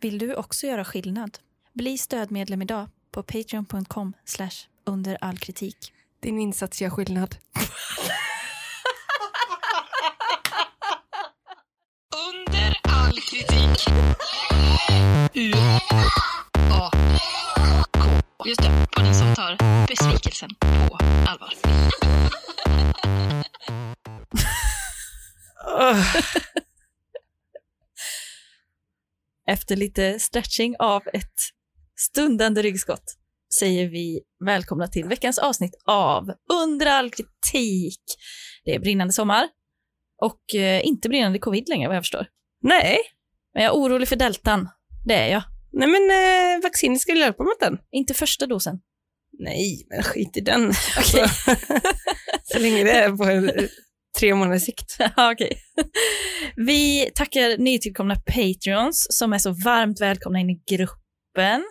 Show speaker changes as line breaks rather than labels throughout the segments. Vill du också göra skillnad? Bli stödmedlem idag på patreon.com under all kritik.
Din insats gör skillnad.
Under all kritik. U A K. Just det, på den som tar besvikelsen på allvar.
Efter lite stretching av ett stundande ryggskott säger vi välkomna till veckans avsnitt av Under all kritik. Det är brinnande sommar och eh, inte brinnande covid längre vad jag förstår.
Nej,
Men jag är orolig för deltan. Det är jag.
nej men eh, vaccinet skulle hjälpa mot den.
Inte första dosen.
Nej, men skit i den.
Okej.
Så länge det är på en, tre månaders sikt.
Ja, Okej. Vi tackar nytillkomna Patreons som är så varmt välkomna in i gruppen.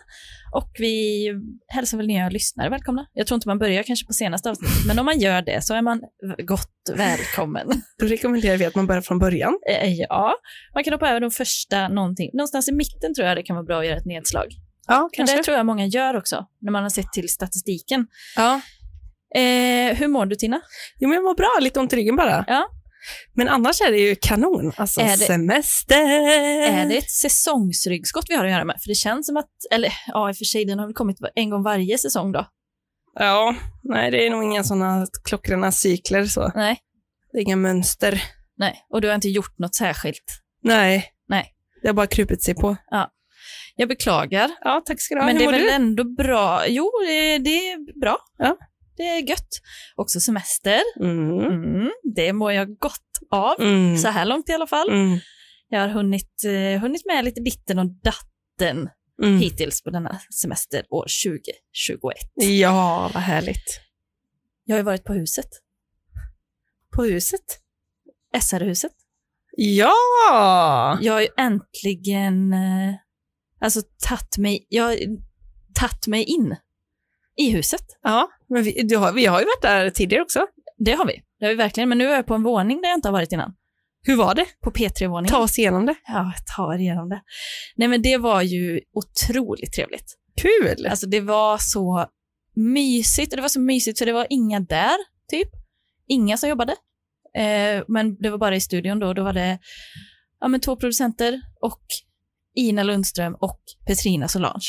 Och vi hälsar väl nya lyssnare välkomna. Jag tror inte man börjar kanske på senaste avsnittet, men om man gör det så är man gott välkommen.
Då rekommenderar vi att man börjar från början.
Eh, Ja, man kan hoppa över de första någonting. Någonstans i mitten tror jag det kan vara bra att göra ett nedslag.
Ja,
Men det tror jag många gör också, när man har sett till statistiken.
Ja.
Eh, hur mår du Tina?
Jo, men vad bra. Lite ont i ryggen bara.
Ja.
Men annars är det ju kanon. Alltså,
Är det-
semester! Eh.
Är Eh, det ett säsongsryggskott vi har att göra med? För det känns som att, eller ja i och för sig, den har väl kommit en gång varje säsong då?
Ja, nej, det är nog inga sådana klockrena cykler så.
Nej.
Det är inga mönster.
Nej, och du har inte gjort något särskilt.
Nej.
Nej.
Det har bara krupit sig på.
Jag beklagar,
Ja, tack ska du ha.
men
Hur
det är
mår
väl
du?
ändå bra. Jo, det, det är bra.
Ja.
Det är gött. Också semester.
Mm.
Mm, det mår jag gott av,
Mm.
så här långt i alla fall.
Mm.
Jag har hunnit, eh, hunnit med lite ditten och datten
Mm.
hittills på denna semester år 2021.
Ja, vad härligt.
Jag har ju varit på huset,
På huset?
SR-huset.
Ja!
Jag har ju äntligen eh, alltså tagit mig, jag har tagit mig in i huset.
Ja, men vi, du har, vi har ju varit där tidigare också.
Det har vi. Det har vi verkligen. Men nu är jag på en våning där jag inte har varit innan.
Hur var det?
På P3-våningen.
Ta oss igenom det.
Ja, jag tar igenom det. Nej, men det var ju otroligt trevligt.
Kul!
Alltså det var så mysigt. Och Det var så mysigt för det var inga där, typ. Inga som jobbade. Eh, men det var bara i studion då. Då var det ja, men två producenter och Ina Lundström och Petrina Solange.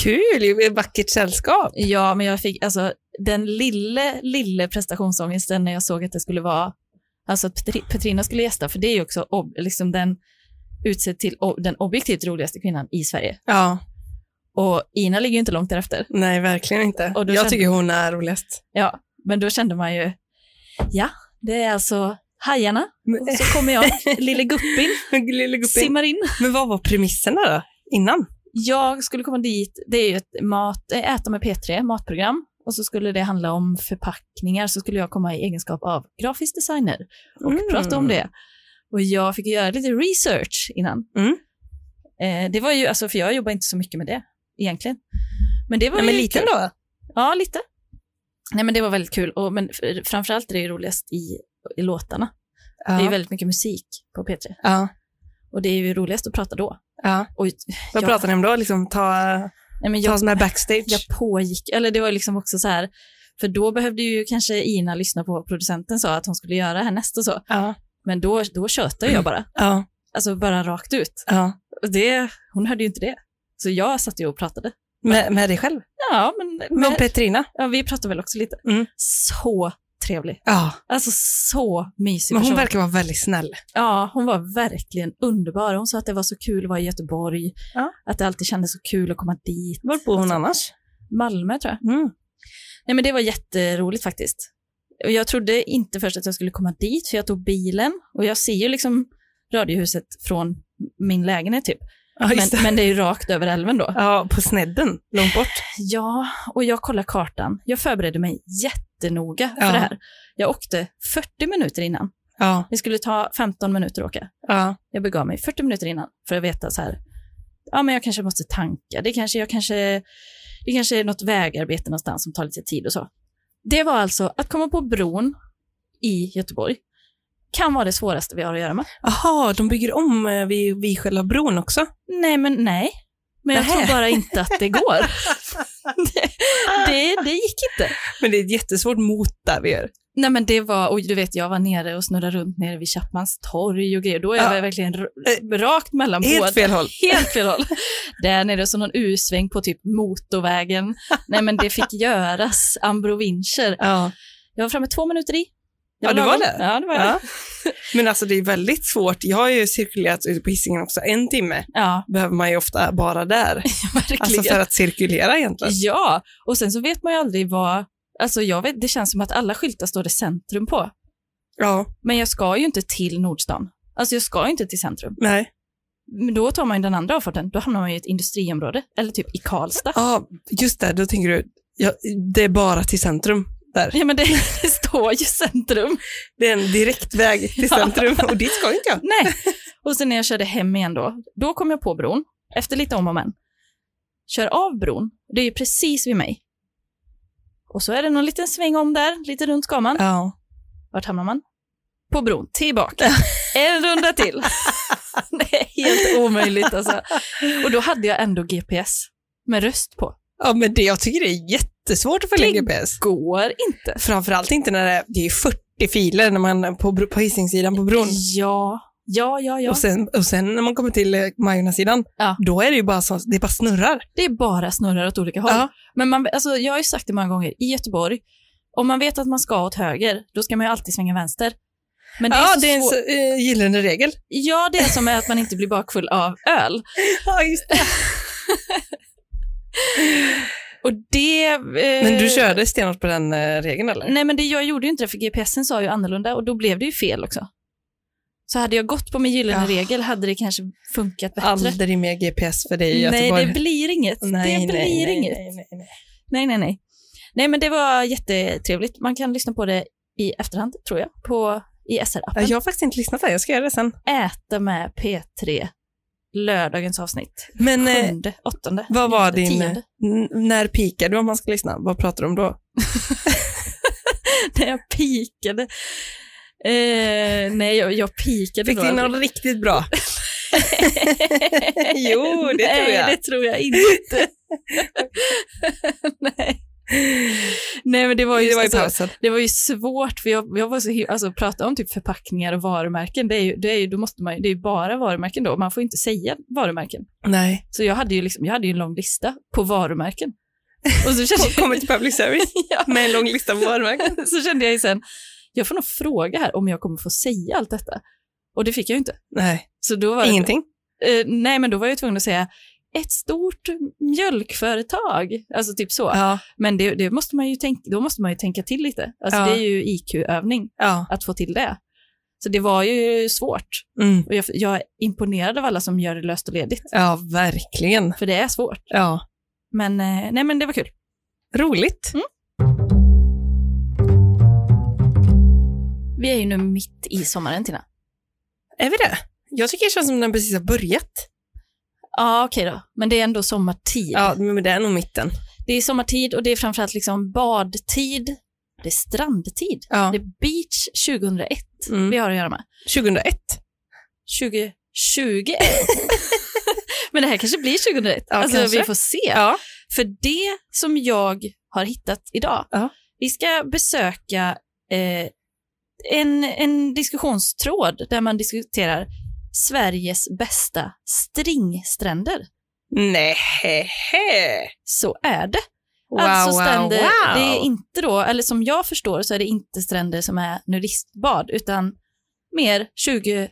Kul! ju, ett Vackert sällskap.
Ja, men jag fick alltså den lille, lille prestationsångesten när jag såg att det skulle vara, alltså att Petri- Petrina skulle gästa, för det är ju också ob- liksom den utsedd till o- den objektivt roligaste kvinnan i Sverige.
Ja,
Och Ina ligger ju inte långt därefter.
nej verkligen inte.
Och då
jag
kände-
tycker hon är roligast.
Ja, men då kände man ju, ja, det är alltså hajarna.
Men,
Och så kommer jag, lille guppin,
Lille guppin.
simmar in.
Men vad var premisserna då? Innan?
Jag skulle komma dit, det är ju ett mat, eh, Äta med P3, matprogram, och så skulle det handla om förpackningar, så skulle jag komma i egenskap av grafisk designer och
Mm.
prata om det. Och jag fick göra lite research innan.
Mm.
Eh, det var ju, alltså, för jag jobbar inte så mycket med det egentligen. Men det var
Nej, men
ju
liten
kul.
då?
Ja, lite. Nej, men det var väldigt kul, och, men f- framförallt är det ju roligast i, i låtarna.
Ja.
Det är ju väldigt mycket musik på P3
ja.
och det är ju roligast att prata då.
ja.
Och,
Vad
Ja.
pratar ni om då? Liksom ta,
nej, men jag
ta sån här backstage?
jag pågick, eller det var liksom också så här, för då behövde ju kanske Ina lyssna på vad producenten sa att hon skulle göra härnäst och så,
Ja.
men då, då tjötade jag bara,
Ja.
alltså bara rakt ut.
ja.
Och det, hon hörde ju inte det. Så jag satt ju och pratade.
Med, med dig själv?
Ja, men,
Med
men
Petrina?
ja, vi pratade väl också lite.
Mm.
Så trevlig.
Ja.
Alltså Typ så mysig
Men hon
person.
verkar vara väldigt snäll.
ja, hon var verkligen underbar. Hon sa att det var så kul att vara i Göteborg,
Ja.
att det alltid kändes så kul att komma dit. Alltså,
Var bor hon annars?
Malmö tror jag.
Mm.
Nej, men det var jätteroligt faktiskt. Och Jag trodde inte först att jag skulle komma dit, för jag tog bilen och jag ser ju liksom radiohuset från min lägenhet typ.
Ja, just
Men, men det är ju rakt över älven då.
det. ja, på snedden, långt bort.
Ja, och jag kollar kartan. Jag förberedde mig jättenoga för
Ja.
det här. Jag åkte 40 minuter innan.
Ja,
Det skulle ta 15 minuter att åka.
ja,
Jag begav mig 40 minuter innan för att veta så här, ja men jag kanske måste tanka, det kanske, jag kanske, det kanske är något vägarbete någonstans som tar lite tid och så. Det var alltså att komma på bron i Göteborg, kan vara det svåraste vi har att göra med.
Jaha, de bygger om eh, vid, vid själva bron också?
Nej, men nej. Men jag
Nähä.
tror bara inte att det går. det, det, det gick inte.
Men det är ett jättesvårt mot där vi gör.
Nej, men det var, och du vet, jag var nere och snurrade runt nere vid Chapmans torg och grejer. Då är jag
Ja.
väl verkligen r- rakt mellan båda.
Helt fel håll.
Helt fel håll. Där nere så någon U-sväng på typ motorvägen. Nej, men det fick göras. Ambrovincher.
Ja.
Jag var framme två minuter i.
Ja, du var
lagom.
det?
Ja, det var jag.
ja. Men alltså det är väldigt svårt. Jag har ju cirkulerat ute på Hisingen också. En timme
Ja,
behöver man ju ofta bara där.
verkligen.
Alltså för att cirkulera egentligen.
Ja, och sen så vet man ju aldrig vad... Alltså jag vet, det känns som att alla skyltar står det centrum på.
Ja,
Men jag ska ju inte till Nordstan. Alltså jag ska ju inte till centrum.
nej.
Men då tar man ju den andra avfarten. Då hamnar man ju i ett industriområde, eller typ i Karlstad.
Ja, just det. Då tänker du, ja, det är bara till centrum där.
Ja, men det, det står ju centrum.
Det är en direkt väg till centrum och dit ska inte jag.
Nej. Och sen när jag körde hem igen då, då kom jag på bron, efter lite om och men. Kör av bron, det är ju precis vid mig. Och så är det någon liten sväng om där, lite runt ska man.
Ja.
Vart hamnar man? På bron, tillbaka. En runda till. Det är helt omöjligt alltså. Och då hade jag ändå GPS med röst på.
ja, men det jag tycker det är jättesvårt att följa
Det-
GPS.
Går inte.
Framförallt inte när det är, det är 40 filer när man är på, bro- på Hisingssidan på bron.
Ja, ja, ja, ja.
Och, sen, och sen när man kommer till eh, Majornasidan,
Ja.
då är det ju bara så, det bara snurrar.
Det är bara snurrar åt olika håll.
Ja.
Men man, alltså, jag har ju sagt det många gånger, i Göteborg, om man vet att man ska åt höger, då ska man ju alltid svänga vänster. Men det är,
ja,
så
det är en
svår...
så, eh, gyllene regel.
ja, det är som är att man inte blir bakfull av öl.
Ja, just det.
Och det... eh,
Men du körde stenhårt på den eh, regeln eller?
Nej, men det, jag gjorde ju inte det, för GPSen sa ju annorlunda och då blev det ju fel också. Så hade jag gått på min gyllene
Ja.
regel hade det kanske funkat bättre.
Aldrig mer GPS för dig i
nej,
Göteborg.
det blir inget. det blir inget.
Nej, nej, nej.
Nej, nej, nej. Nej, men det var jättetrevligt. Man kan lyssna på det i efterhand, tror jag, på, i
Ja,
SR-appen.
Jag har faktiskt inte lyssnat där, jag ska göra det sen.
Äta med P3, lördagens avsnitt.
Men eh,
Sjunde, åttonde,
vad var
nionde,
din-
tionde.
n- när pikar du om man ska lyssna? Vad pratar du om då?
När jag pikade. Eh, nej, jag, jag pikade
Fick
då
du in
aldrig.
någon riktigt bra? Jo, det
Nej,
tror jag.
det tror jag inte. Nej. Nej, men det var ju,
det var i
alltså,
pausen.
det var ju svårt, för jag, jag var så hi- alltså prata om typ förpackningar och varumärken, det är ju, det är ju, då måste man, ju- det är ju bara varumärken då, man får ju inte säga varumärken.
Nej.
Så jag hade ju liksom, jag hade ju en lång lista på varumärken. Och så kände,
Kommer till public service
Ja.
med en lång lista på varumärken.
så kände jag ju sen, jag får nog fråga här om jag kommer få säga allt detta. Och det fick jag ju inte.
Nej,
Så då var det-
ingenting.
Eh, nej, men då var jag ju tvungen att säga ett stort mjölkföretag, alltså typ så.
Ja,
Men det, det måste man ju tänka, då måste man ju tänka till lite. Alltså
Ja.
det är ju IQ-övning
ja.
att få till det. Så det var ju svårt.
Mm.
Och jag, jag är imponerad av alla som gör det löst och ledigt,
ja verkligen.
för det är svårt.
Ja.
Men, eh, nej, men det var kul.
Roligt.
Mm. Vi är ju nu mitt i sommaren, Tina.
Är vi det? Jag tycker det känns som den precis har börjat.
Ja, okej då. Men det är ändå sommartid.
Ja, men det är nog mitten.
Det är sommartid och det är framförallt liksom badtid. Det är strandtid.
Ja.
Det är beach 2001
Mm.
vi har att göra med.
2001.
2021. Men det här kanske blir 2001.
Ja,
alltså,
kanske.
Vi får se.
Ja.
För det som jag har hittat idag,
Ja.
vi ska besöka eh, en, en diskussionstråd där man diskuterar Sveriges bästa stringstränder.
Nej.
Så är det.
Wow,
alltså
wow,
stränder,
wow.
det är inte då, eller som jag förstår så är det inte stränder som är nudistbad, utan mer 20,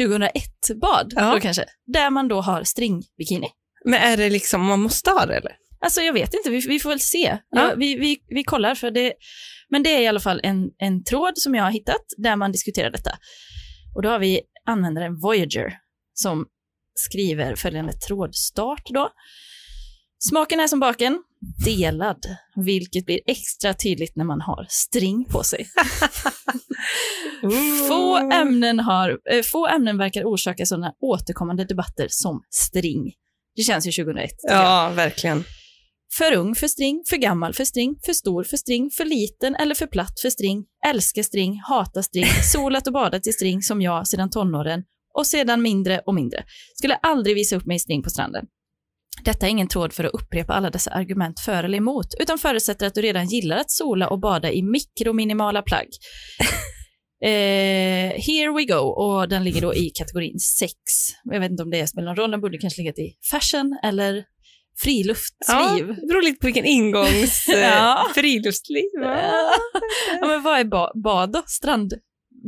2001-bad
Ja.
då kanske, där man då har stringbikini.
Men är det liksom, man måste ha det eller?
Alltså jag vet inte, vi, vi får väl se.
Ja.
Ja, vi, vi, vi kollar, för det, men det är i alla fall en, en tråd som jag har hittat där man diskuterar detta. Och då har vi användaren Voyager som skriver följande trådstart då. Smaken är som baken, delad, vilket blir extra tydligt när man har string på sig. Få
Mm.
ämnen, har, eh, få ämnen verkar orsaka sådana återkommande debatter som string. Det känns ju 2001. tycker jag.
Ja, verkligen.
För ung för string, för gammal för string, för stor för string, för liten eller för platt för string, älskar string, hatar string, solat och badat i string som jag sedan tonåren och sedan mindre och mindre. Skulle aldrig visa upp mig i string på stranden. Detta är ingen tråd för att upprepa alla dessa argument för eller emot, utan förutsätter att du redan gillar att sola och bada i mikrominimala plagg. Eh, here we go, och den ligger då i kategorin sex. Jag vet inte om det spelar någon roll, den borde kanske legat i fashion eller friluftsliv.
det beror lite på vilken ingångs... eh,
Ja.
Friluftsliv. va?
Ja. ja, men vad är ba- bad då? Strand?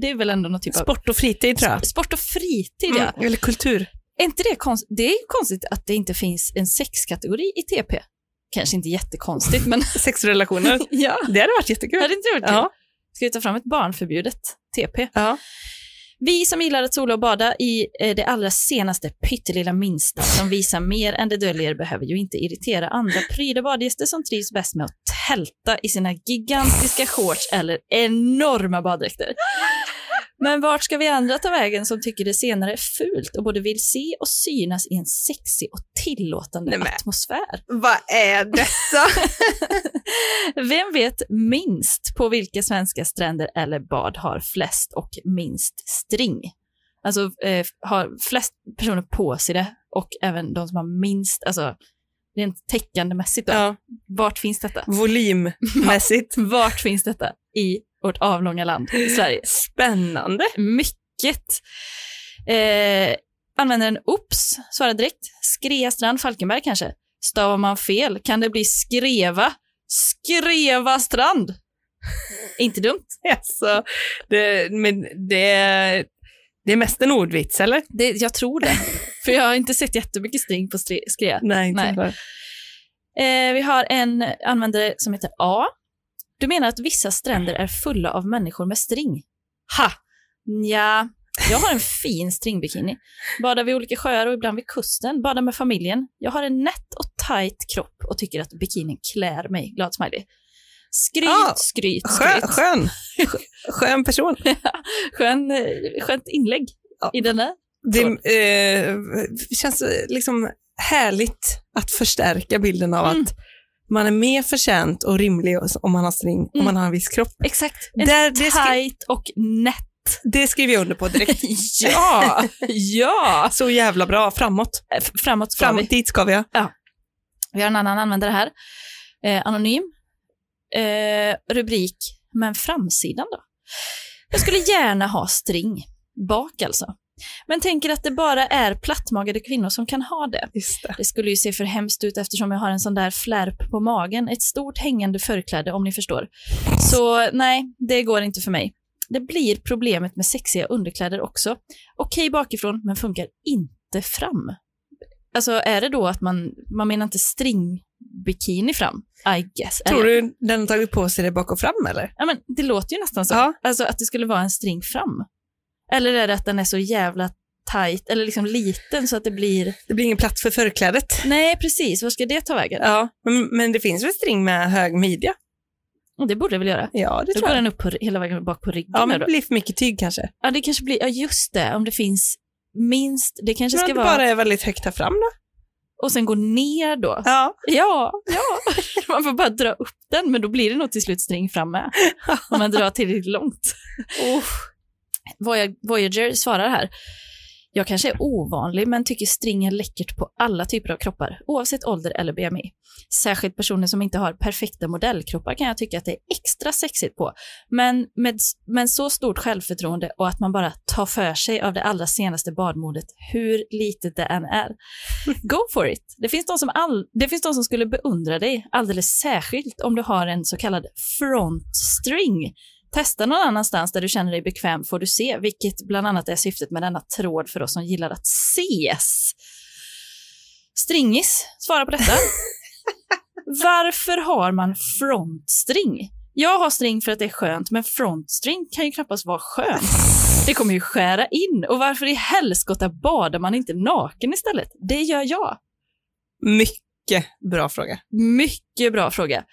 Det är väl ändå någon typ av...
Sport och fritid tror jag.
Sport och fritid, ja.
Mm, eller kultur.
Är inte det konst... Det är ju konstigt att det inte finns en sexkategori i TP. Kanske inte jättekonstigt, men
Sexrelationer.
ja.
Det hade varit jättekul.
Hade inte det varit kul?
Ja.
Ska vi ta fram ett barnförbjudet TP?
Ja.
Vi som gillar att sola och bada i eh, det allra senaste pyttelilla minsta som visar mer än det döljer behöver ju inte irritera andra pryda badgäster som trivs bäst med att tälta i sina gigantiska shorts eller enorma baddräkter. Men vart ska vi andra ta vägen som tycker det senare är fult och både vill se och synas i en sexig och tillåtande
Nej, men.
atmosfär?
Vad är detta?
Vem vet minst på vilka svenska stränder eller bad har flest och minst string? Alltså eh, har flest personer på sig det och även de som har minst, alltså rent täckandemässigt då.
ja.
Vart finns detta?
Volymmässigt.
Vart finns detta i vårt avlånga land, Sverige?
Spännande.
Mycket. Eh, användaren Ops svarar direkt. Skreastrand Falkenberg kanske. Stavar man fel kan det bli Skreva. Skreva strand. Inte dumt.
Alltså, det, men det, det är mest en ordvits, eller?
Det, jag tror det. För jag har inte sett jättemycket string på stre- skrea.
Nej,
Nej.
bara.
Eh, vi har en användare som heter A. Du menar att vissa stränder är fulla av människor med string? Ha! Ja, jag har en fin stringbikini. Badar vid olika sjöar och ibland vid kusten. Badar med familjen. Jag har en nätt och tajt kropp och tycker att bikinin klär mig. Glad smiley. Skryt,
Ah,
skryt,
Skön,
skryt.
skön. skön person.
Skön, eh, skönt inlägg
Ja.
i den där.
Det eh, känns eh, liksom härligt att förstärka bilden av
Mm.
att man är mer förtjänt och rimlig om man har string, om
Mm.
man har en viss kropp.
Exakt. En
Där, det, skri,
tajt och nätt.
det skriver jag under på direkt. alltså,
Ja, ja.
Så jävla bra, framåt.
F- Framåt ska vi.
framåt dit ska vi. ja.
Vi har en annan användare här. Eh, anonym. Eh, rubrik, men framsidan då? Jag skulle gärna ha string. Bak alltså. Men tänker att det bara är plattmagade kvinnor som kan ha det.
Just det.
Det skulle ju se för hemskt ut eftersom jag har en sån där flärp på magen. Ett stort hängande förkläde om ni förstår. Så nej, det går inte för mig. Det blir problemet med sexiga underkläder också. Okej bakifrån, men funkar inte fram. Alltså är det då att man, man menar inte stringbikini fram? I guess.
Tror
Eller-
du den har tagit på sig det bak och fram eller?
Ja, men det låter ju nästan så.
Ja.
Alltså att det skulle vara en string fram. Eller är det att den är så jävla tight, eller liksom liten så att det blir...
Det blir ingen plats för förklädet.
Nej, precis. Var ska det ta vägen?
Ja, men, men det finns väl string med hög midja?
Det borde det väl göra.
Ja,
Då
det tror
går
jag.
den upp på, hela vägen bak på ryggen.
Ja,
där
men
då.
det blir för mycket tyg kanske.
ja, det kanske blir, ja just det, om det finns minst, det kanske
Men
ska
det
vara,
bara är väldigt högt här fram då?
och sen gå ner då.
Ja.
Ja, ja. man får bara dra upp den, men då blir det nog till slut string framme. Om man drar tillräckligt långt. Voy- Voyager svarar här. Jag kanske är ovanlig, men tycker string är läckert på alla typer av kroppar, oavsett ålder eller BMI. Särskilt personer som inte har perfekta modellkroppar kan jag tycka att det är extra sexigt på. Men med men så stort självförtroende och att man bara tar för sig av det allra senaste badmodet, hur litet det än är. Go for it! Det finns, de som all, det finns de som skulle beundra dig, alldeles särskilt om du har en så kallad front string. Testa någon annanstans där du känner dig bekväm får du se, vilket bland annat är syftet med denna tråd för oss som gillar att ses. Stringis svarar på detta. Varför har man frontstring? Jag har string för att det är skönt, men frontstring kan ju knappast vara skönt. Det kommer ju skära in. Och varför i helskotta badar man inte naken istället? Det gör jag.
Mycket bra fråga.
Mycket bra fråga.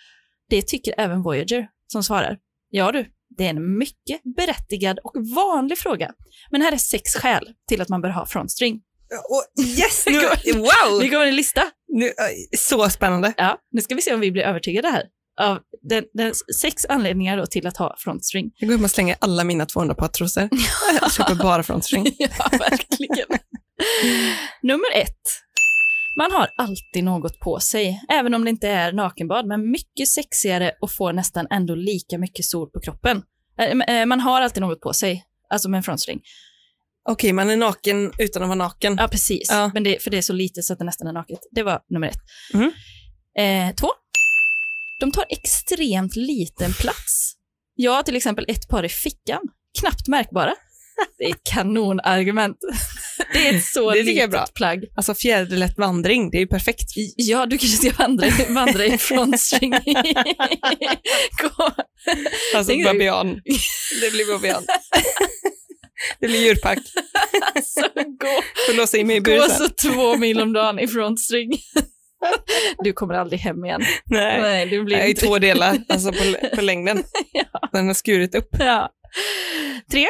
Det tycker även Voyager som svarar. Ja du, det är en mycket berättigad och vanlig fråga. Men här är sex skäl till att man bör ha frontstring.
yes, nu, wow!
Vi går en lista.
Nu, äh, så spännande.
Ja, nu ska vi se om vi blir övertygade här. Av den, den sex anledningar då till att ha frontstring.
Jag går hem och slänger alla mina 200 pattrosor. Jag köper bara frontstring.
ja, verkligen. Nummer ett. Man har alltid något på sig, även om det inte är nakenbad, men mycket sexigare och får nästan ändå lika mycket sol på kroppen. Eh, eh, Man har alltid något på sig, alltså med en frontstring.
Okej, man är naken utan att vara naken.
Ja, precis.
Ja.
Men det, för det är så lite så att det nästan är naket. Det var nummer ett.
Mhm.
Eh, två. De tar extremt liten plats. Jag har till exempel ett par i fickan, knappt märkbara. Det är ett kanonargument. Det är ett så
Det tycker jag är
litet
bra.
plagg.
Alltså fjäderlätt vandring, det är ju perfekt.
Ja, du kanske ska vandra, vandra i frontstring. Gå-
Alltså
Tänker du-
babian. Det blir babian. Det blir djurpark.
alltså, gå,
Får låsa in mig i bur
gå
sen.
så två mil om dagen i frontstring. Du kommer aldrig hem igen.
Nej,
Nej, du blir
Nej, i
inte...
två delar, alltså på, på längden. Den har skurit upp.
Ja. Tre.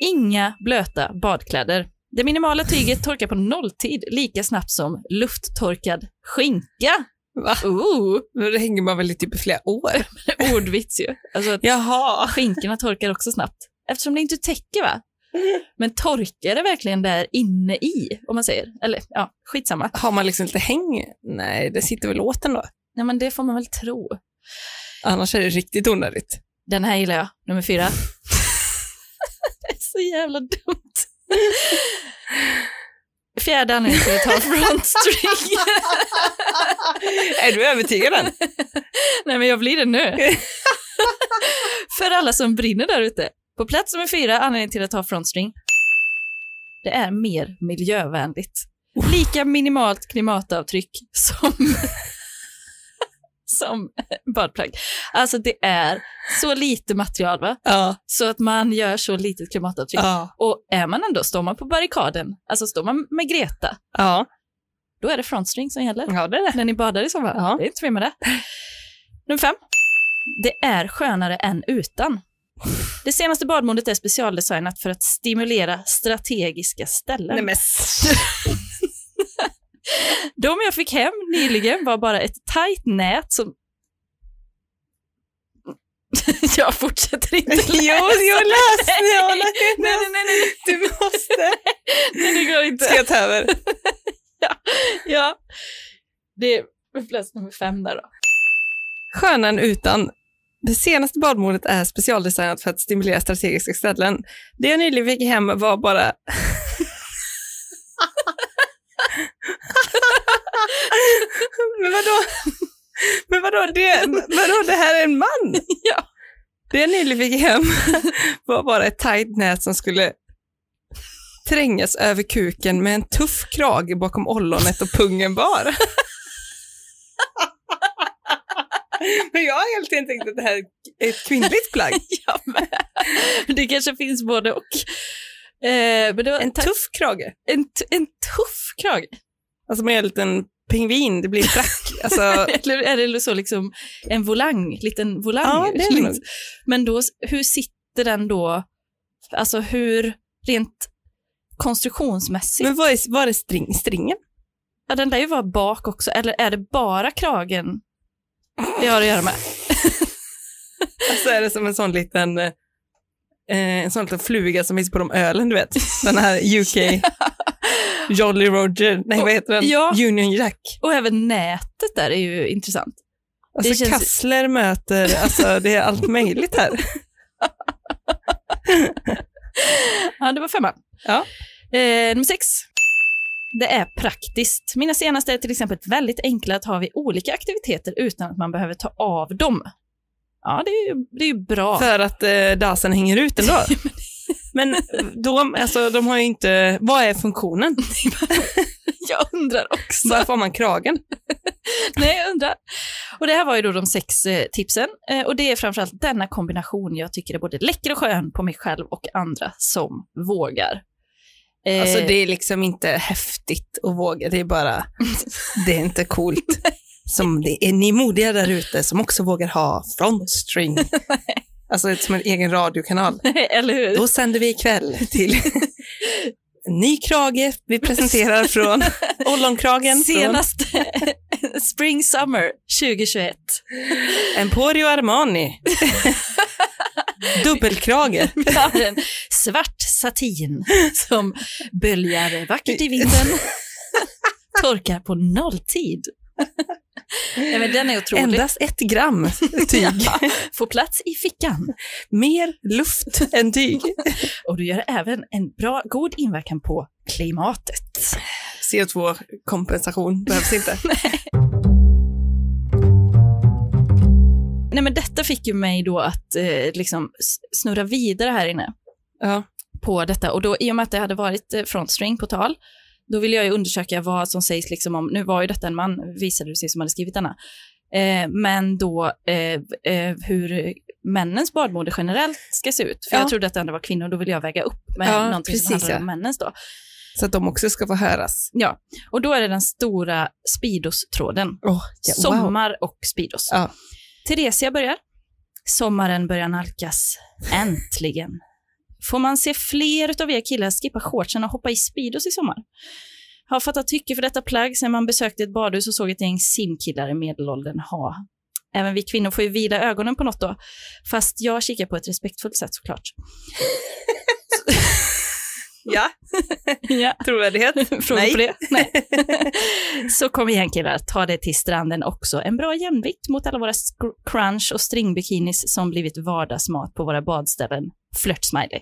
Inga blöta badkläder. Det minimala tyget torkar på nolltid lika snabbt som lufttorkad skinka.
Va?
Ooh,
Det hänger man väl i typ i flera år.
ordvits ju. Alltså att
Jaha.
skinkorna torkar också snabbt. Eftersom det inte täcker va? Men torkar det verkligen där inne i, om man säger? Eller ja, skitsamma.
Har man liksom lite häng? Nej, det sitter väl åt ändå.
Nej men det får man väl tro.
Annars är det riktigt onödigt.
Den här gillar jag, nummer fyra. det är så jävla dumt. Fjärde anledningen till att ta frontstring.
Är du övertygad än?
Nej, men jag blir det nu. För alla som brinner där ute. På plats nummer fyra, anledningen till att ta frontstring. Det är mer miljövänligt. Lika minimalt klimatavtryck som, som badplagg. Alltså det är så lite material va?
Ja.
Så att man gör så litet klimatavtryck.
Ja.
Och är man ändå, står man på barrikaden, alltså står man med Greta,
Ja,
då är det frontstring som gäller.
ja det är det.
När ni badar i sommar.
Ja.
Det är inte fel med det. Nummer fem. Det är skönare än utan. Det senaste badmodet är specialdesignat för att stimulera strategiska ställen.
men
De jag fick hem nyligen var bara ett tajt nät som... jag fortsätter inte läsa.
Jo, jag läste, jag läste.
Nej, nej, nej, nej,
Du måste.
nej, det går inte.
Ska jag ta över?
Ja. Det är plats nummer fem där då.
Skönan utan. Det senaste badmodet är specialdesignat för att stimulera strategiska ställen. Det jag nyligen fick hem var bara... Men vadå? Men vadå det, vadå, det här är en man?
Ja.
Det jag nyligen fick hem var bara ett tajt nät som skulle trängas över kuken med en tuff krage bakom ollonet och pungen bar. Men jag har helt enkelt tänkt att det här är ett kvinnligt plagg.
Jag med. Det kanske finns både och. Eh, men det var
En tuff krage.
en, t- en tuff krage.
Alltså man gör en liten pingvin, det blir frack. Alltså,
Eller är det så liksom en volang, liten volang? Liksom.
ja, det är det nog.
Men då, hur sitter den då? Alltså hur, rent konstruktionsmässigt?
Men var är, var är string, stringen?
Ja, den där ju vara bak också, eller är det bara kragen det har att göra med?
Alltså är det som en sån liten, eh, en sån liten fluga som finns på de ölen, du vet. Den här UK Jolly Roger, nej vad heter den?
Ja.
Union Jack.
Och även nätet där är ju intressant.
Alltså
Det känns-
Kassler möter, alltså det är allt möjligt här.
Ja, det var femman.
Ja.
Eh, nummer sex. Det är praktiskt. Mina senaste är till exempel väldigt enkla att ha vid olika aktiviteter utan att man behöver ta av dem. Ja, det är ju, det är ju bra.
För att eh, dasen hänger ut ändå. Men eh, de, alltså, de har ju inte, vad är funktionen?
Jag undrar också.
Varför har man kragen?
Nej, jag undrar. Och det här var ju då de sex eh, tipsen. Eh, och det är framförallt denna kombination jag tycker är både läcker och skön på mig själv och andra som vågar. Eh,
Alltså det är liksom inte häftigt att våga, det är bara, det är inte coolt. Som det är ni modiga där ute som också vågar ha frontstring. Alltså som en egen radiokanal.
Eller hur?
Då sänder vi ikväll till ny krage vi presenterar från Ollonkragen från
Senast Spring Summer 2021.
Emporio Armani. Dubbelkrage.
Vi har en svart satin som böljar vackert i vinden. Torkar på nolltid. Nej, men den är otrolig.
Endast ett gram tyg.
Ja, Får plats i fickan.
Mer luft än tyg.
Och du gör även en bra, god inverkan på klimatet.
CO2-kompensation behövs inte.
Nej, men detta fick ju mig då att eh, liksom s- snurra vidare här inne
Ja.
på detta. Och då, i och med att det hade varit eh, frontstring på tal, då ville jag ju undersöka vad som sägs liksom om, nu var ju detta en man, visade det sig, som hade skrivit denna, eh, men då eh, eh, hur männens badmode generellt ska se ut. För
Ja.
jag trodde att det andra var kvinnor, då ville jag väga upp med
Ja,
någonting som
precis,
handlar om
ja.
männens då.
Så att de också ska få höras.
Och då är det den stora Speedos-tråden.
Oh, ja, wow.
Sommar och Speedos.
Ja.
Theresia börjar. Sommaren börjar nalkas. Äntligen. Får man se fler utav er killar skippa shortsen och hoppa i Speedos i sommar? Har fattat tycke för detta plagg sen man besökte ett badhus och såg ett gäng simkillar i medelåldern ha. Även vi kvinnor får ju vila ögonen på något då. Fast jag kikar på ett respektfullt sätt såklart.
Ja,
Ja.
trovärdighet.
Frågor
Nej.
på det? Nej. så kom igen killar, ta det till stranden också. En bra jämvikt mot alla våra sk- crunch och stringbikinis som blivit vardagsmat på våra badställen. Flört-smiley.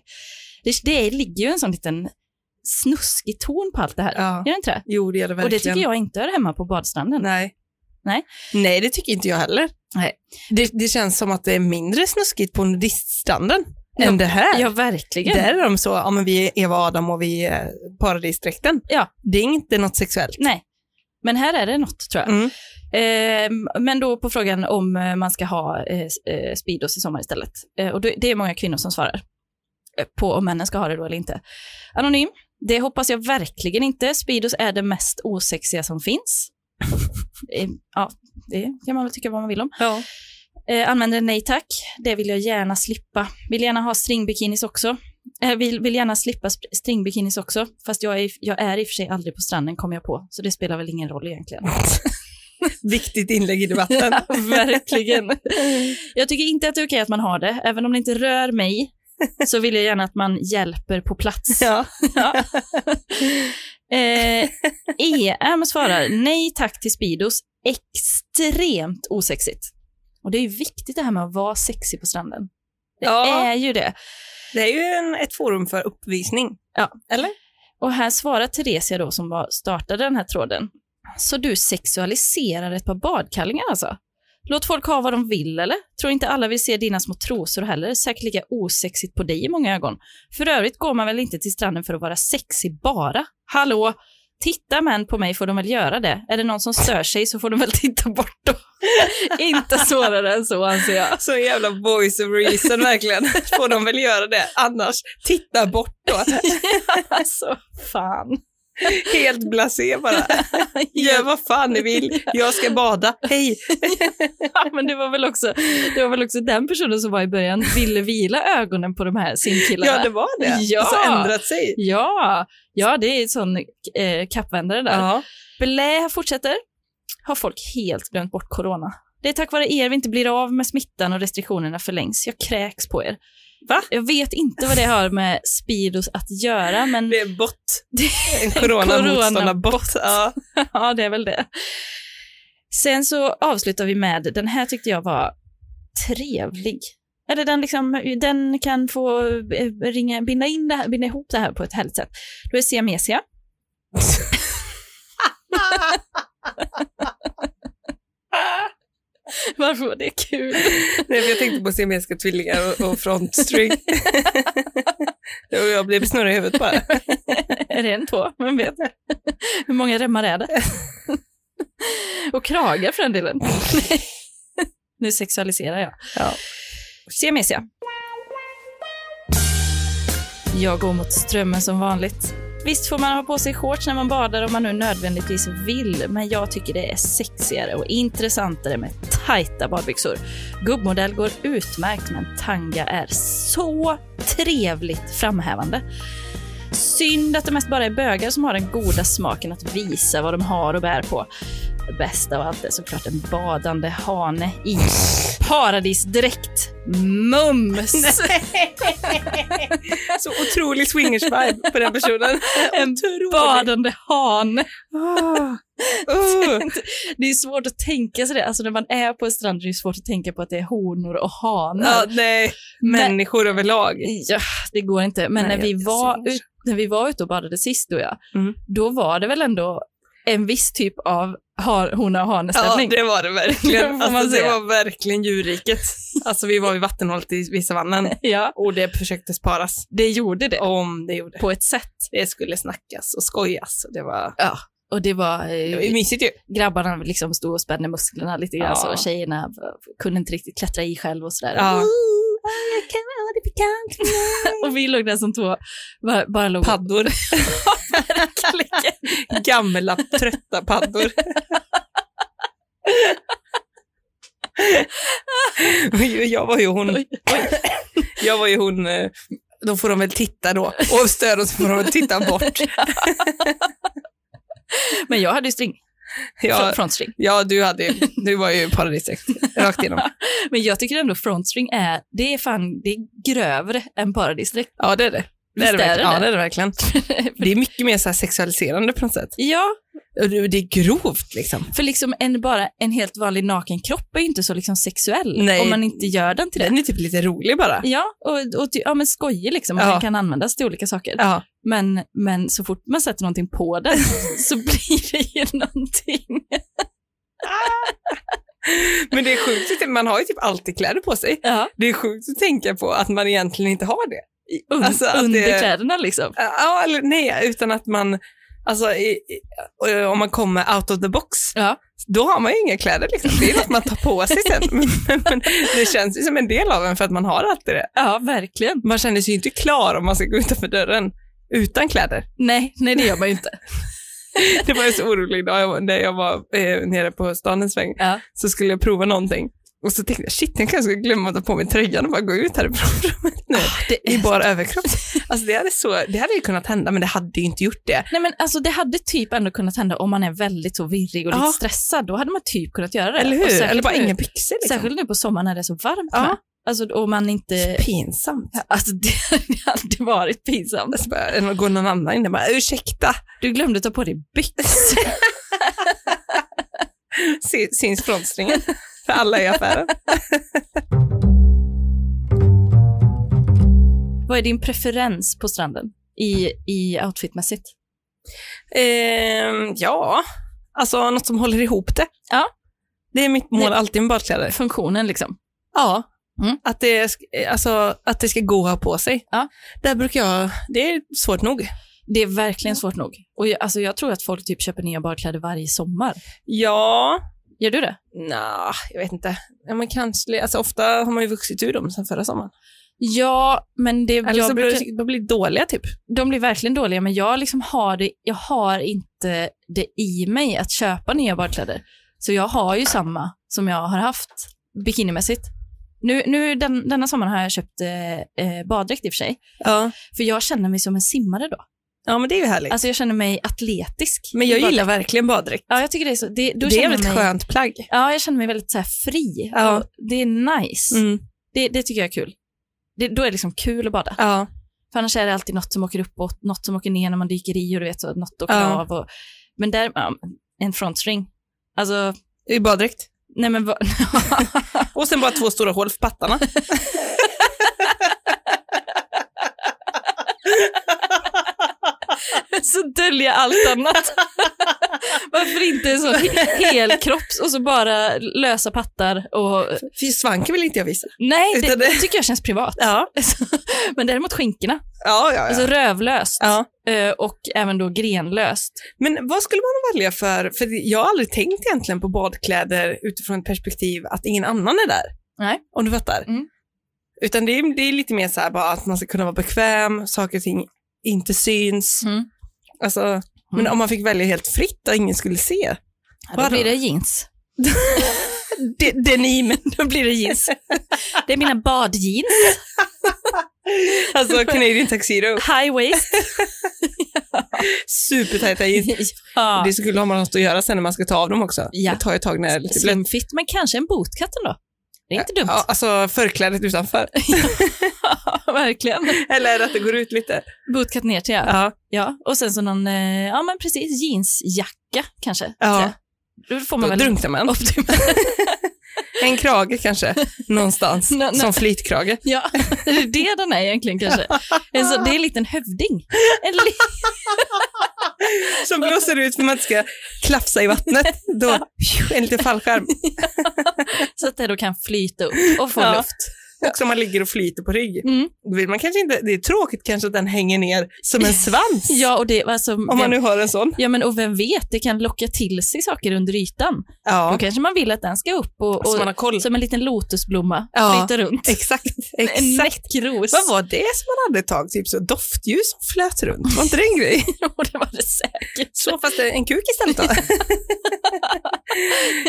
Det, det ligger ju en sån liten snuskig ton på allt det här.
Ja.
Gör det inte det?
Jo, det gör det verkligen.
Och det tycker jag inte hör hemma på badstranden.
Nej.
Nej.
Nej, det tycker inte jag heller.
Nej.
Det, det känns som att det är mindre snuskigt på nudiststranden
Ja,
än det här.
Ja, verkligen.
Där är de så, ja men vi är Eva och Adam och vi är paradisdräkten.
Ja.
Det är inte något sexuellt.
Nej. Men här är det något tror jag.
Mm.
Ehm, men då på frågan om eh, man ska ha eh, s- eh, Speedos i sommar istället. Eh, och det, det är många kvinnor som svarar eh, på om männen ska ha det då eller inte. Anonym. Det hoppas jag verkligen inte. Speedos är det mest osexiga som finns. Eh, ja, det kan man väl tycka vad man vill om.
Ja.
Eh, använder nej tack. Det vill jag gärna slippa. Vill gärna ha stringbikinis också. Eh, vill, vill gärna slippa sp- stringbikinis också. Fast jag är, i- jag är i och för sig aldrig på stranden kom jag på. Så det spelar väl ingen roll egentligen.
Viktigt inlägg i debatten.
Ja, verkligen. Jag tycker inte att det är okej att man har det. Även om det inte rör mig så vill jag gärna att man hjälper på plats.
ja.
Ja. eh, EM svarar nej tack till Speedos. Extremt osexigt. Och det är ju viktigt det här med att vara sexig på stranden. Det
Ja.
är ju det.
Det är ju en, ett forum för uppvisning.
Och här svarar Theresia då som var, startade den här tråden. Så du sexualiserar ett par badkallingar alltså? Låt folk ha vad de vill eller? Tror inte alla vill se dina små trosor heller, säkert lika osexigt på dig i många ögon. För övrigt går man väl inte till stranden för att vara sexig bara? Hallå? Titta män på mig får de väl göra det. Är det någon som stör sig så får de väl titta bort då. inte svårare än så anser jag.
Så Alltså, en jävla voice of reason verkligen. Får de väl göra det? Annars, titta bort då.
alltså, fan.
Helt blasé bara. Gör vad fan ni vill. Jag ska bada. Hej!
Ja, men det var, väl också, det var väl också den personen som var i början, ville vila ögonen på de här simkillarna.
Ja, det var det.
Ja.
Alltså ändrat sig.
ja, ja, det är en sån eh, kappvändare där.
Ja.
Blä fortsätter. Har folk helt glömt bort corona? Det är tack vare er vi inte blir av med smittan och restriktionerna förlängs. Jag kräks på er.
Va?
Jag vet inte vad det har med Speedos att göra, men
Det är bott. En coronamotståndarbott. Ja.
ja, det är väl det. Sen så avslutar vi med, den här tyckte jag var trevlig. Eller den, liksom, den kan få eh, ringa, binda, in det här, binda ihop det här på ett härligt sätt. Då är siamesia. Varför var det kul?
Nej, för jag tänkte på siamesiska tvillingar och, och frontstring. och jag blev snurrig i huvudet bara.
är det en två? Vem vet? Hur många remmar är det? Och kragar för den delen. nu sexualiserar jag.
Ja.
Siamesia. Jag går mot strömmen som vanligt. Visst får man ha på sig shorts när man badar om man nu nödvändigtvis vill, men jag tycker det är sexigare och intressantare med tajta badbyxor. Gubbmodell går utmärkt, men tanga är så trevligt framhävande. Synd att det mest bara är bögar som har den goda smaken att visa vad de har och bär på. Bäst av allt är såklart en badande hane i paradisdräkt. Mums!
Så otrolig swingers-vibe på den personen.
en badande hane.
Ah. Uh.
Det är svårt att tänka sig det. Alltså när man är på en strand är det svårt att tänka på att det är honor och hanar.
Ja, nej. Människor överlag.
Ja, det går inte. Men
Nej,
när, vi
jag-
var ut, när vi var ute och badade sist, du och jag,
Mm.
då var det väl ändå en viss typ av har, hona och
Ja,
hane-stämning.
det var det
Det
verkligen.
får man
Alltså, det
säga.
var verkligen djurriket. Alltså, vi var vid vattenhålet i vid savannen
Ja,
och det försöktes paras.
det gjorde det
Om det gjorde.
på ett sätt.
Det skulle snackas och skojas. Och det, var...
Och det var,
det
eh,
var ju mysigt ju.
grabbarna liksom stod och spände musklerna lite grann
Ja.
så tjejerna eh, kunde inte riktigt klättra i själv och sådär.
Ja.
Ooh, oh, I can't be bekant med. och vi låg där som två, bara, bara låg och
Paddor. Gamla trötta paddor. Oj, Jag var ju hon.
Oj,
Jag var ju hon. eh, Då får de väl titta då. Och stöd och så får de väl titta bort.
Men jag hade ju string,
Ja,
Fr- frontstring.
ja du, hade, ju- du var ju paradisakt. Rakt igenom.
Men jag tycker ändå frontstring är, det är fan, det är grövre än paradisdräkt.
Ja, det är det. Det är
Visst
det,
är
verkligen.
det det?
Ja, det är det verkligen. Det är mycket mer så här sexualiserande på något sätt.
Ja,
Och det det är grovt liksom.
för liksom en, bara en helt vanlig naken kropp är ju inte så liksom sexuell
Nej.
om man inte gör den till det.
Den är typ lite rolig bara.
Ja, och, och ty, ja, men skojig liksom, och
Ja.
den kan användas till olika saker.
Ja,
Men, men så fort man sätter någonting på den så blir det ju någonting.
men det är sjukt. att Man har ju typ alltid kläder på sig.
Ja.
Det är sjukt att tänka på att man egentligen inte har det.
Un,
Alltså, att det-
under kläderna liksom.
Ja, eller nej, utan att man, alltså i, i, eh, om man kommer out of the box,
Ja.
då har man ju inga kläder liksom. Det är något man tar på sig sen. Men, men det känns ju som en del av en för att man har alltid det.
ja, verkligen.
Man känner sig ju inte klar om man ska gå utanför dörren utan kläder.
Nej, nej, det gör man ju inte.
Det var ju så orolig idag jag var- när jag var eh, nere på stan en sväng,
Ja.
så skulle jag prova någonting. Och så tänkte jag, shit, jag kanske ska glömma att ta på mig tröjan och bara gå ut härifrån nu.
Ah, Det
I
är...
bara överkropp. Alltså det hade, så, det hade ju kunnat hända, men det hade ju inte gjort det.
Nej, men alltså, det hade typ ändå kunnat hända om man är väldigt så virrig och lite
Ja.
stressad. Då hade man typ kunnat göra det.
Eller
Och
hur?
särskilt
Eller bara
nu,
inga byxor liksom.
Särskilt nu på sommaren när det är så varmt.
Ja.
Med. Alltså, och man inte...
Pinsamt.
Alltså, det hade varit pinsamt.
Alltså bara, eller går någon annan in och bara, ursäkta,
Du glömde ta på dig byxor.
sy- syns frontstringen? För alla i affären.
Vad är din preferens på stranden i, i outfitmässigt?
Ehm, ja, alltså något som håller ihop det.
Ja.
Det är mitt mål
Det-
alltid med badkläder.
Funktionen liksom.
Ja.
Mm.
Att, det, sk- alltså, att det ska gå att ha på sig.
Ja.
Där brukar jag, det är svårt nog.
Det är verkligen svårt nog. Och jag, alltså jag tror att folk typ köper nya badkläder varje sommar.
Ja,
Gör du det?
nja, jag vet inte. Ja, men kanske, alltså, ofta har man ju vuxit ur dem sen förra sommaren.
Ja, men det,
Eller
jag
så brukar...
brukar,
blir de blir dåliga typ.
de blir verkligen dåliga, men jag, liksom har det, jag har inte det i mig att köpa nya badkläder. Så jag har ju samma som jag har haft bikinimässigt. Nu, nu den, denna sommaren har jag köpt eh, eh, baddräkt i och för sig,
Ja.
för jag känner mig som en simmare då.
ja, men det är ju härligt.
Alltså jag känner mig atletisk.
men jag
i baddräkt.
gillar verkligen baddräkt.
Ja, jag tycker det är så. Det, då
det är
känner
väl ett
jag mig,
skönt plagg.
Ja, jag känner mig väldigt så här fri.
Ja.
Och Det är nice.
Mm.
Det, det tycker jag är kul. Det, då är det liksom kul att bada.
Ja.
För annars är det alltid något som åker uppåt, något som åker ner när man dyker i och du vet, så, något åker
Ja.
av. Och, men där, ja, en frontstring. Alltså,
I baddräkt.
nej men vad,
Och sen bara två stora hål för pattarna.
så dölja allt annat. Varför inte en sån he- helkropps och så bara lösa pattar och...
Fy svanken vill inte jag visa.
Nej, det,
Utan
det
det-
tycker jag känns privat.
Ja,
Men däremot skinkorna.
ja, ja.
Alltså rövlöst
ja.
eh, och även då grenlöst.
Men vad skulle man välja för, för jag har aldrig tänkt egentligen på badkläder utifrån ett perspektiv att ingen annan är där.
Nej.
Om du fattar.
Mm.
Utan det är, det är lite mer så här bara att man ska kunna vara bekväm, saker och ting inte syns.
Mm.
Alltså, Men om man fick välja helt fritt och ingen skulle se.
Ja, då
Vadå?
blir det jeans.
De, denim.
Då blir det jeans. Det är mina badjeans.
Alltså Canadian tuxedo.
High waist.
Supertajta jeans.
ja.
Det är så kul om man har något att göra sen när man ska ta av dem också.
Ja.
Det tar ju ett tag när det är lite blött.
Slimfit, men kanske en bootcut ändå. Det är inte dumt.
Ja, alltså förklädet utanför.
Verkligen.
Eller att det går ut lite.
Bootcut ner till ja.
Ja.
ja. Och sen så någon, eh, ja men precis, jeansjacka kanske.
Ja.
Så, Då får
Då
man väl...
drunknar man.
Optimal.
En krage kanske, någonstans.
Nå- nå-
Som flytkrage.
Ja, det är det den är egentligen kanske. En så, det är en liten hövding. En li-
Som blåser ut för att man inte ska klafsa i vattnet. Då, en liten fallskärm.
så att det då kan flyta upp och få
Ja.
luft.
Också om man ligger och flyter på rygg.
Mm.
Då vill man kanske inte, det är tråkigt kanske att den hänger ner som en svans.
Ja, och det, alltså,
Om man
vem,
nu har en sån.
ja, men, och vem vet, det kan locka till sig saker under ytan.
Ja,
Då kanske man vill att den ska upp och,
så
och
man har koll.
som en liten lotusblomma
Ja.
flyta runt.
Exakt,
En
exakt.
näckros.
Vad var det som man hade ett tag? Typ så doftljus som flöt runt. Var inte det en grej?
Och det var det säkert.
Så fast det är en kuk istället då.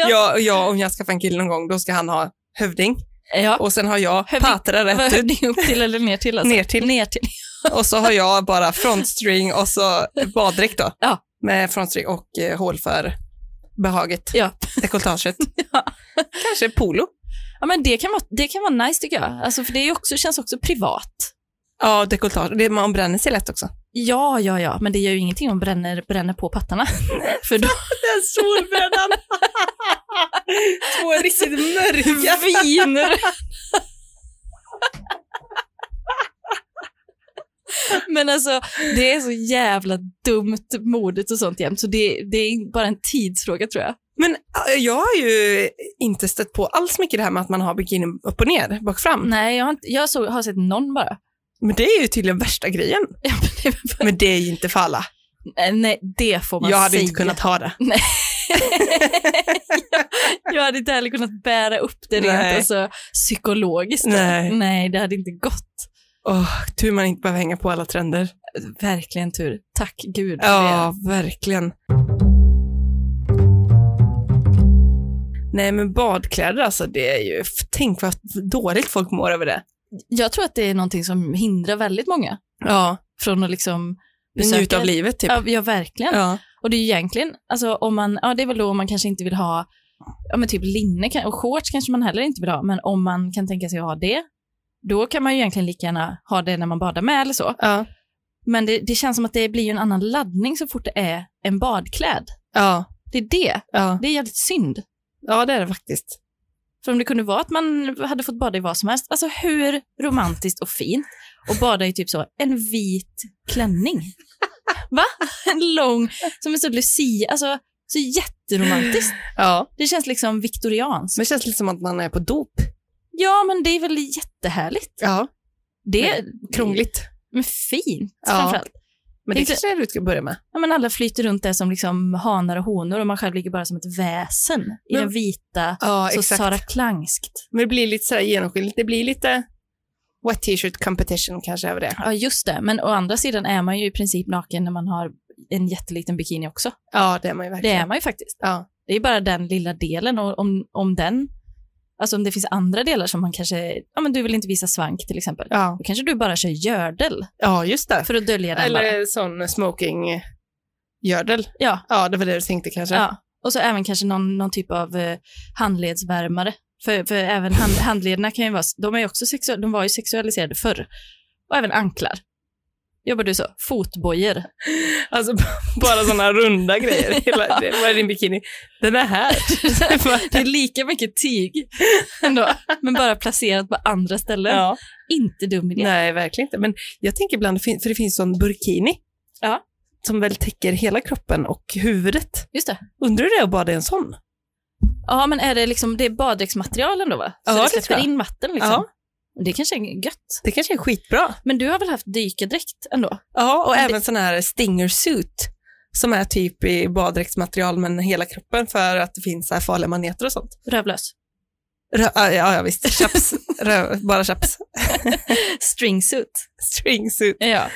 ja, och jag, om jag skaffar en kille någon gång, då ska han ha hövding.
Ja.
Och sen har jag
Hövding.
patra
Vad
rätt
höll
ut.
ni upp till eller ner till? Alltså?
Ner till.
Ner till.
Och så har jag bara frontstring och så baddräkt då.
Ja.
Med frontstring och eh, hål för behaget,
Ja.
dekolletaget. Kanske polo.
Ja, men det, kan vara, det kan vara nice tycker jag. Alltså, för det är ju också, känns också privat.
Ja, dekolletage. Det- Man bränner sig lätt också.
Ja, ja, ja, men det gör ju ingenting om bränner, bränner på pattarna. för då
Den solbrännan! Två riktigt mörka.
viner Men alltså, det är så jävla dumt modet och sånt jämt, så det, det är bara en tidsfråga tror jag.
Men eh, jag har ju inte stött på alls mycket det här med att man har bikinin upp och ner, bak och fram.
Nej, jag har, inte, jag såg, har sett någon bara.
Men det är ju tydligen värsta grejen.
Ja, men det,
Men det är ju inte för alla.
Nej, Eh, nej, det får man
Jag hade
säga.
inte kunnat ha det.
jag hade inte heller kunnat bära upp det rent
Nej.
alltså, psykologiskt.
Nej.
nej, det hade inte gått.
Åh, tur man inte behöver hänga på alla trender.
Verkligen tur. Tack gud för det.
Ja, verkligen. Nej, men badkläder alltså, det är ju... f- Tänk vad dåligt folk mår över det.
Jag tror att det är någonting som hindrar väldigt många
Ja,
från att liksom besöka...
njut av livet typ.
Ja, ja verkligen.
Ja.
Och det är ju egentligen, alltså om man, ja det är väl då om man kanske inte vill ha, ja men typ linne kan- och shorts kanske man heller inte vill ha, men om man kan tänka sig att ha det, då kan man ju egentligen lika gärna ha det när man badar med eller så.
Ja.
Men det, det känns som att det blir ju en annan laddning så fort det är en badklädd.
Ja.
Det är det.
Ja.
Det är jävligt synd.
ja, det är det faktiskt.
För om det kunde vara att man hade fått bada i vad som helst, alltså hur romantiskt och fint? Och bada i typ så, en vit klänning. Va? En lång, som en sån lucia, alltså så jätteromantiskt.
Ja.
Det känns liksom viktorianskt.
Men det känns lite som att man är på dop.
Ja, men det är väl jättehärligt.
Ja.
Det
Krångligt.
Men fint
Ja.
framförallt.
Men det
Tänkte-
kanske är det du ska börja med.
Ja, men alla flyter runt där som liksom hanar och honor och man själv ligger bara som ett väsen i
Men-
den vita,
Ja,
så Sara Klangskt.
Men det blir lite sådär genomskinligt. Det blir lite wet t-shirt competition kanske över det.
Ja, just det. Men å andra sidan är man ju i princip naken när man har en jätteliten bikini också.
Ja, det är man ju
Det
verkligen.
är man ju faktiskt.
Ja.
Det är bara den lilla delen och om, om den, alltså om det finns andra delar som man kanske, ja men du vill inte visa svank till exempel,
Ja.
då kanske du bara kör gördel
ja, just det.
för att dölja den bara.
Eller sån smoking-gördel.
Ja.
Ja, det var det du tänkte kanske.
Ja. Och så även kanske någon, någon typ av eh, handledsvärmare. För, för även hand, handlederna kan ju vara, de, är ju också sexu- de var ju sexualiserade förr. Och även anklar. Jobbar du så? Fotbojor.
Alltså b- bara sådana runda grejer. Hela, det, vad är din bikini? Den är här.
Det är lika mycket tyg ändå, men bara placerat på andra ställen.
ja.
Inte dum idé.
Nej, verkligen inte. Men jag tänker ibland, fin- för det finns sån burkini.
Ja.
Som väl täcker hela kroppen och huvudet.
Just det.
Undrar hur det är att bada i en sån?
Ja, men är det liksom, det är baddräktsmaterialen då va? Så
Ja,
det
det
släpper
tror jag.
in vatten liksom?
Ja.
Det kanske är gött.
Det kanske är skitbra.
Men du har väl haft dykardräkt ändå?
Ja, och
Men det-
även sån här stinger suit som är typ i baddräktsmaterial men hela kroppen för att det finns så här farliga maneter och sånt.
Rövlös.
Rö- ja, ja, ja, visst. Chaps. Rö- bara chaps.
Stringsuit.
Stringsuit.
Ja.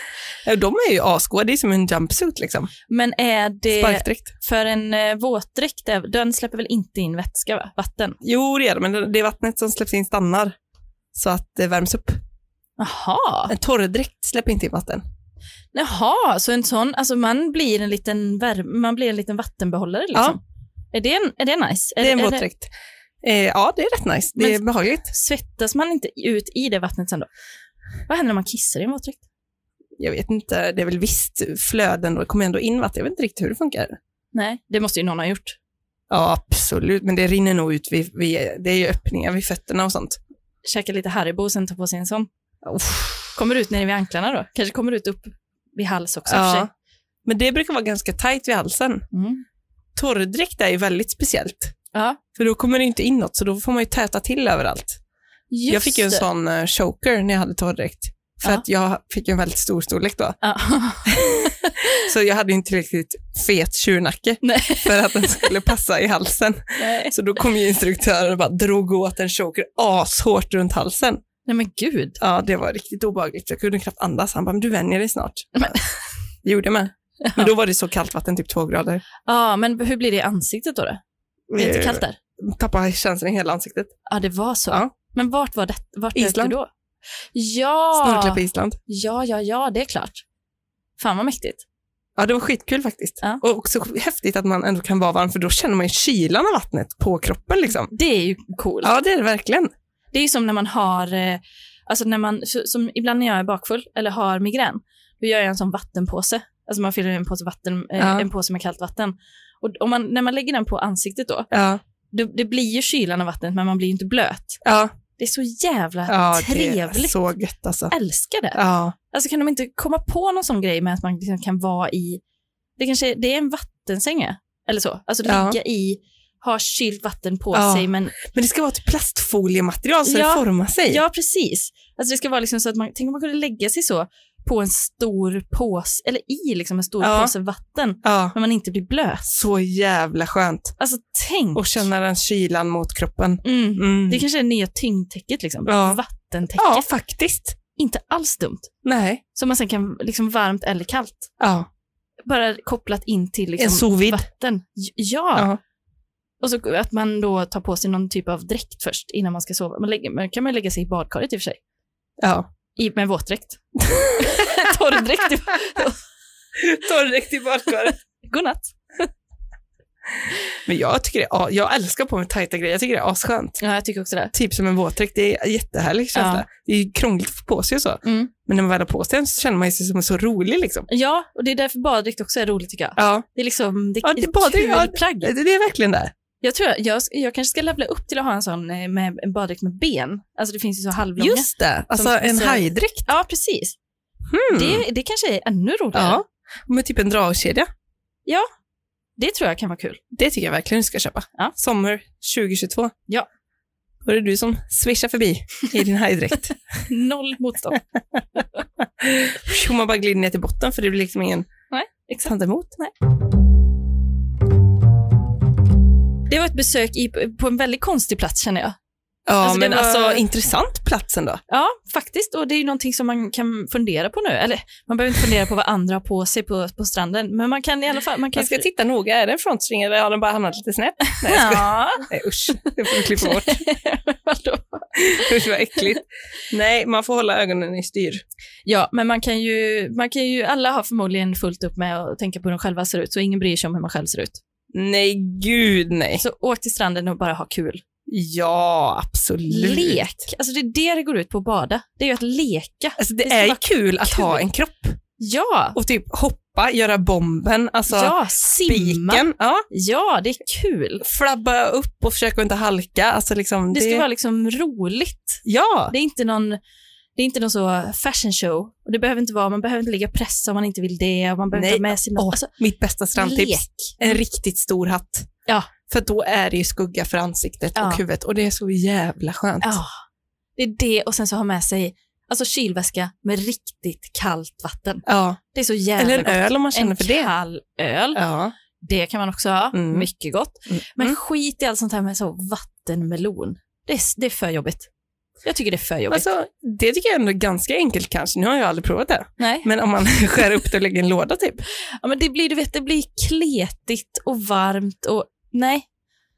Ja, De är ju asgoa. Det är som en jumpsuit liksom.
Men är det
Sparkdräkt.
för en eh, våtdräkt, är- den släpper väl inte in vätska, va? vatten?
Jo, det är det, men det det är vattnet som släpps in stannar så att det värms upp.
Jaha.
En torrdräkt släpper inte in vatten.
Jaha, så en sån, alltså man blir en liten, värme, man blir en liten vattenbehållare liksom? Är, det en, är det nice?
Det är en
är
våtdräkt. Eh, ja, det är rätt nice. Det är
Men-
behagligt.
Svettas man inte ut i det vattnet sen då? Vad händer när man kissar i en våtdräkt?
Jag vet inte, det är väl visst flöden och det kommer ändå in vatten. Jag vet inte riktigt hur det funkar.
Nej, det måste ju någon ha gjort.
Ja, absolut, men det rinner nog ut vid, vid det är ju öppningar vid fötterna och sånt.
Käka lite Haribo och sen ta på sig en sån.
Uff.
Kommer ut nere vid anklarna då? Kanske kommer ut upp vid hals också i och för
Ja.
sig.
Men det brukar vara ganska tajt vid halsen.
Mm.
Torrdräkt är ju väldigt speciellt.
Ja.
För då kommer det inte in något, så då får man ju täta till överallt. jag fick ju en
Just det.
sån eh, choker när jag hade torrdräkt. För
Ja.
att jag fick ju en väldigt stor storlek då.
Ja.
Så jag hade ju inte riktigt fet tjurnacke
Nej.
för att den skulle passa i halsen.
Nej.
Så då kom ju instruktören och bara drog åt en choker ashårt runt halsen.
Nej men gud.
Ja, det var riktigt obehagligt. Jag kunde knappt andas. Han bara, men du vänjer dig snart. Det gjorde jag med. Men då var det så kallt vatten, typ två grader.
Ja, men hur blir det i ansiktet då? då? Är det
Eh,
inte kallt där?
Tappade känslan i hela ansiktet.
Ja, det var så.
Ja.
Men vart var det? Vart
Island.
dök du då? Ja.
Snorkla på Island.
Ja, ja, ja, det är klart. Fan vad mäktigt.
Ja, det var skitkul faktiskt.
Ja.
Och också häftigt att man ändå kan vara varm, för då känner man ju kylan av vattnet på kroppen liksom.
Det är ju coolt.
Ja, det är det verkligen.
Det är ju som när man har, eh, alltså när man, så- som ibland när jag är bakfull eller har migrän, då gör jag en sån vattenpåse. Alltså man fyller en påse, vatten, eh,
Ja.
en påse med kallt vatten. Och om man, när man lägger den på ansiktet då,
Ja,
då, det blir ju kylan av vattnet men man blir ju inte blöt.
ja,
Det är så jävla
ja det är
trevligt.
så gött alltså.
Jag älskar det.
Ja,
Alltså kan de inte komma på någon sån grej med att man liksom kan vara i, det kanske är- det är en vattensänga eller så, alltså
Ja.
ligga i, ha kylt vatten på
Ja.
sig men
men det ska vara ett plastfoliematerial så
Ja.
det formar sig.
ja precis. Alltså det ska vara liksom så att man, tänk om man kunde lägga sig så på en stor påse, eller i liksom en stor
Ja.
påse vatten,
ja.
men man inte blir blöt.
Så jävla skönt.
Alltså tänk.
Och känna den kylan mot kroppen.
mm.
Mm.
Det kanske är det nya tyngdtäcket liksom,
Ja.
vattentäcket.
Ja, faktiskt.
Inte alls dumt.
Nej.
Som man sen kan, liksom varmt eller kallt,
Ja.
bara kopplat in till liksom,
en sous vide.
vatten. J- Ja.
Ja.
Och så att man då tar på sig någon typ av dräkt först innan man ska sova. Man lägger, man kan man lägga sig i badkaret i och för sig,
ja.
I, med våtdräkt. Torrdräkt. i-
Torrdräkt i badkaret.
Godnatt.
Men jag tycker det, ja, jag älskar på mig tajta grejer. Jag tycker det är asskönt.
Ja, jag tycker också det.
Typ som en våtdräkt, det är jättehärlig känsla.
Ja.
Det är ju krångligt att få på sig och så.
Mm.
Men när man väl har på sig den så känner man sig som så rolig liksom.
Ja, och det är därför baddräkt också är roligt tycker jag.
Ja,
Det är liksom, det är
Ja, det är baddräkt, ja.
kul plagg.
det det är verkligen det.
Jag tror jag, jag, jag kanske ska levla upp till att ha en sån eh, med en baddräkt med ben. Alltså det finns ju så halvlånga.
Just det, alltså
Som-
en
så-
hajdräkt.
Ja, precis.
Hmm.
Det, det kanske är ännu roligare.
Ja, med typ en dragkedja.
Det tror jag kan vara kul.
Det tycker jag verkligen du ska köpa.
Ja.
Sommar 2022.
Ja.
Då är det du som swishar förbi i din hajdräkt.
Noll motstånd.
Pju, man bara glider ner till botten för det blir liksom ingen
Exakt.
tand emot.
Det var ett besök i, på en väldigt konstig plats känner jag.
Ja,
Alltså, det
men
var-
alltså intressant plats ändå.
Ja, faktiskt. Och det är ju någonting som man kan fundera på nu. Eller man behöver inte fundera på vad andra har på sig på, på stranden, men man kan i alla fall... Man kan
Jag ska titta noga, är det en frontstring eller har den bara hamnat lite snett? Nej, jag skojar.
Ja.
Nej usch, det får vi klippa bort.
Vadå?
Usch vad äckligt. Nej, man får hålla ögonen i styr.
ja, men man kan, ju, man kan ju... Alla har förmodligen fullt upp med att tänka på hur de själva ser ut, så ingen bryr sig om hur man själv ser ut.
Nej, gud nej.
Så åk till stranden och bara ha kul.
Ja, absolut.
Lek! Alltså det är det det går ut på att bada. Det är ju att leka.
Alltså, det,
Det ska
är ju
vara
kul att ha
kul.
en kropp
Ja!
och typ hoppa, göra bomben, alltså
ja, simma.
spiken. Ja.
Ja, det är kul.
Flabba upp och försöka inte halka. Alltså, liksom,
Det ska vara liksom roligt.
Ja,
Det är inte någon, det är inte någon så fashion show. Och det behöver inte vara, man behöver inte lägga press om man inte vill det. Och man behöver
Nej.
inte ha med sig något.
Åh,
Alltså,
mitt bästa strandtips.
lek.
En riktigt stor hatt.
Ja.
För då är det ju skugga för ansiktet
Ja.
och huvudet och det är så jävla skönt.
Ja, det är det. Och sen så ha med sig alltså kylväska med riktigt kallt vatten.
Ja.
Det är så jävla
Eller en
gott.
öl om man känner
En
för det.
kall öl.
Ja.
Det kan man också ha.
Mm.
Mycket gott.
Mm.
Men
Mm.
skit i allt sånt här med så vattenmelon. Det är, det är för jobbigt. Jag tycker det är för jobbigt.
Alltså, det tycker jag ändå är ganska enkelt kanske. Nu har jag aldrig provat det.
Nej.
Men om man skär upp det och lägger i en låda typ.
Ja, men det blir, du vet, det blir kletigt och varmt och nej,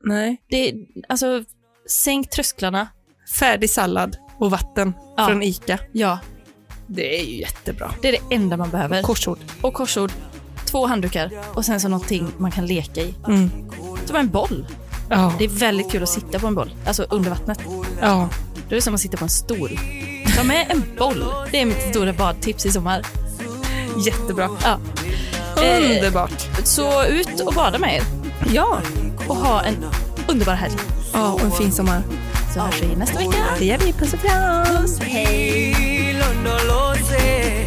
Nej.
det, alltså sänk trösklarna.
Färdig sallad. och vatten
Ja.
från ICA.
Ja,
Det är ju jättebra.
det är det enda man behöver.
Korsord.
Och korsord, två handdukar och sen så någonting man kan leka i.
Mm.
Som en boll.
Ja.
Det är väldigt kul att sitta på en boll, alltså under vattnet.
ja.
Då är det som att sitta på en stol. Ta med en boll. Det är mitt stora badtips i sommar.
Jättebra.
Ja. Eh,
Underbart.
Så ut och bada med er. Ja. Och ha en underbar helg.
Ja, och en fin sommar.
Så hörs vi nästa vecka.
Det gör vi. Puss och kram.
hilo no lo sé.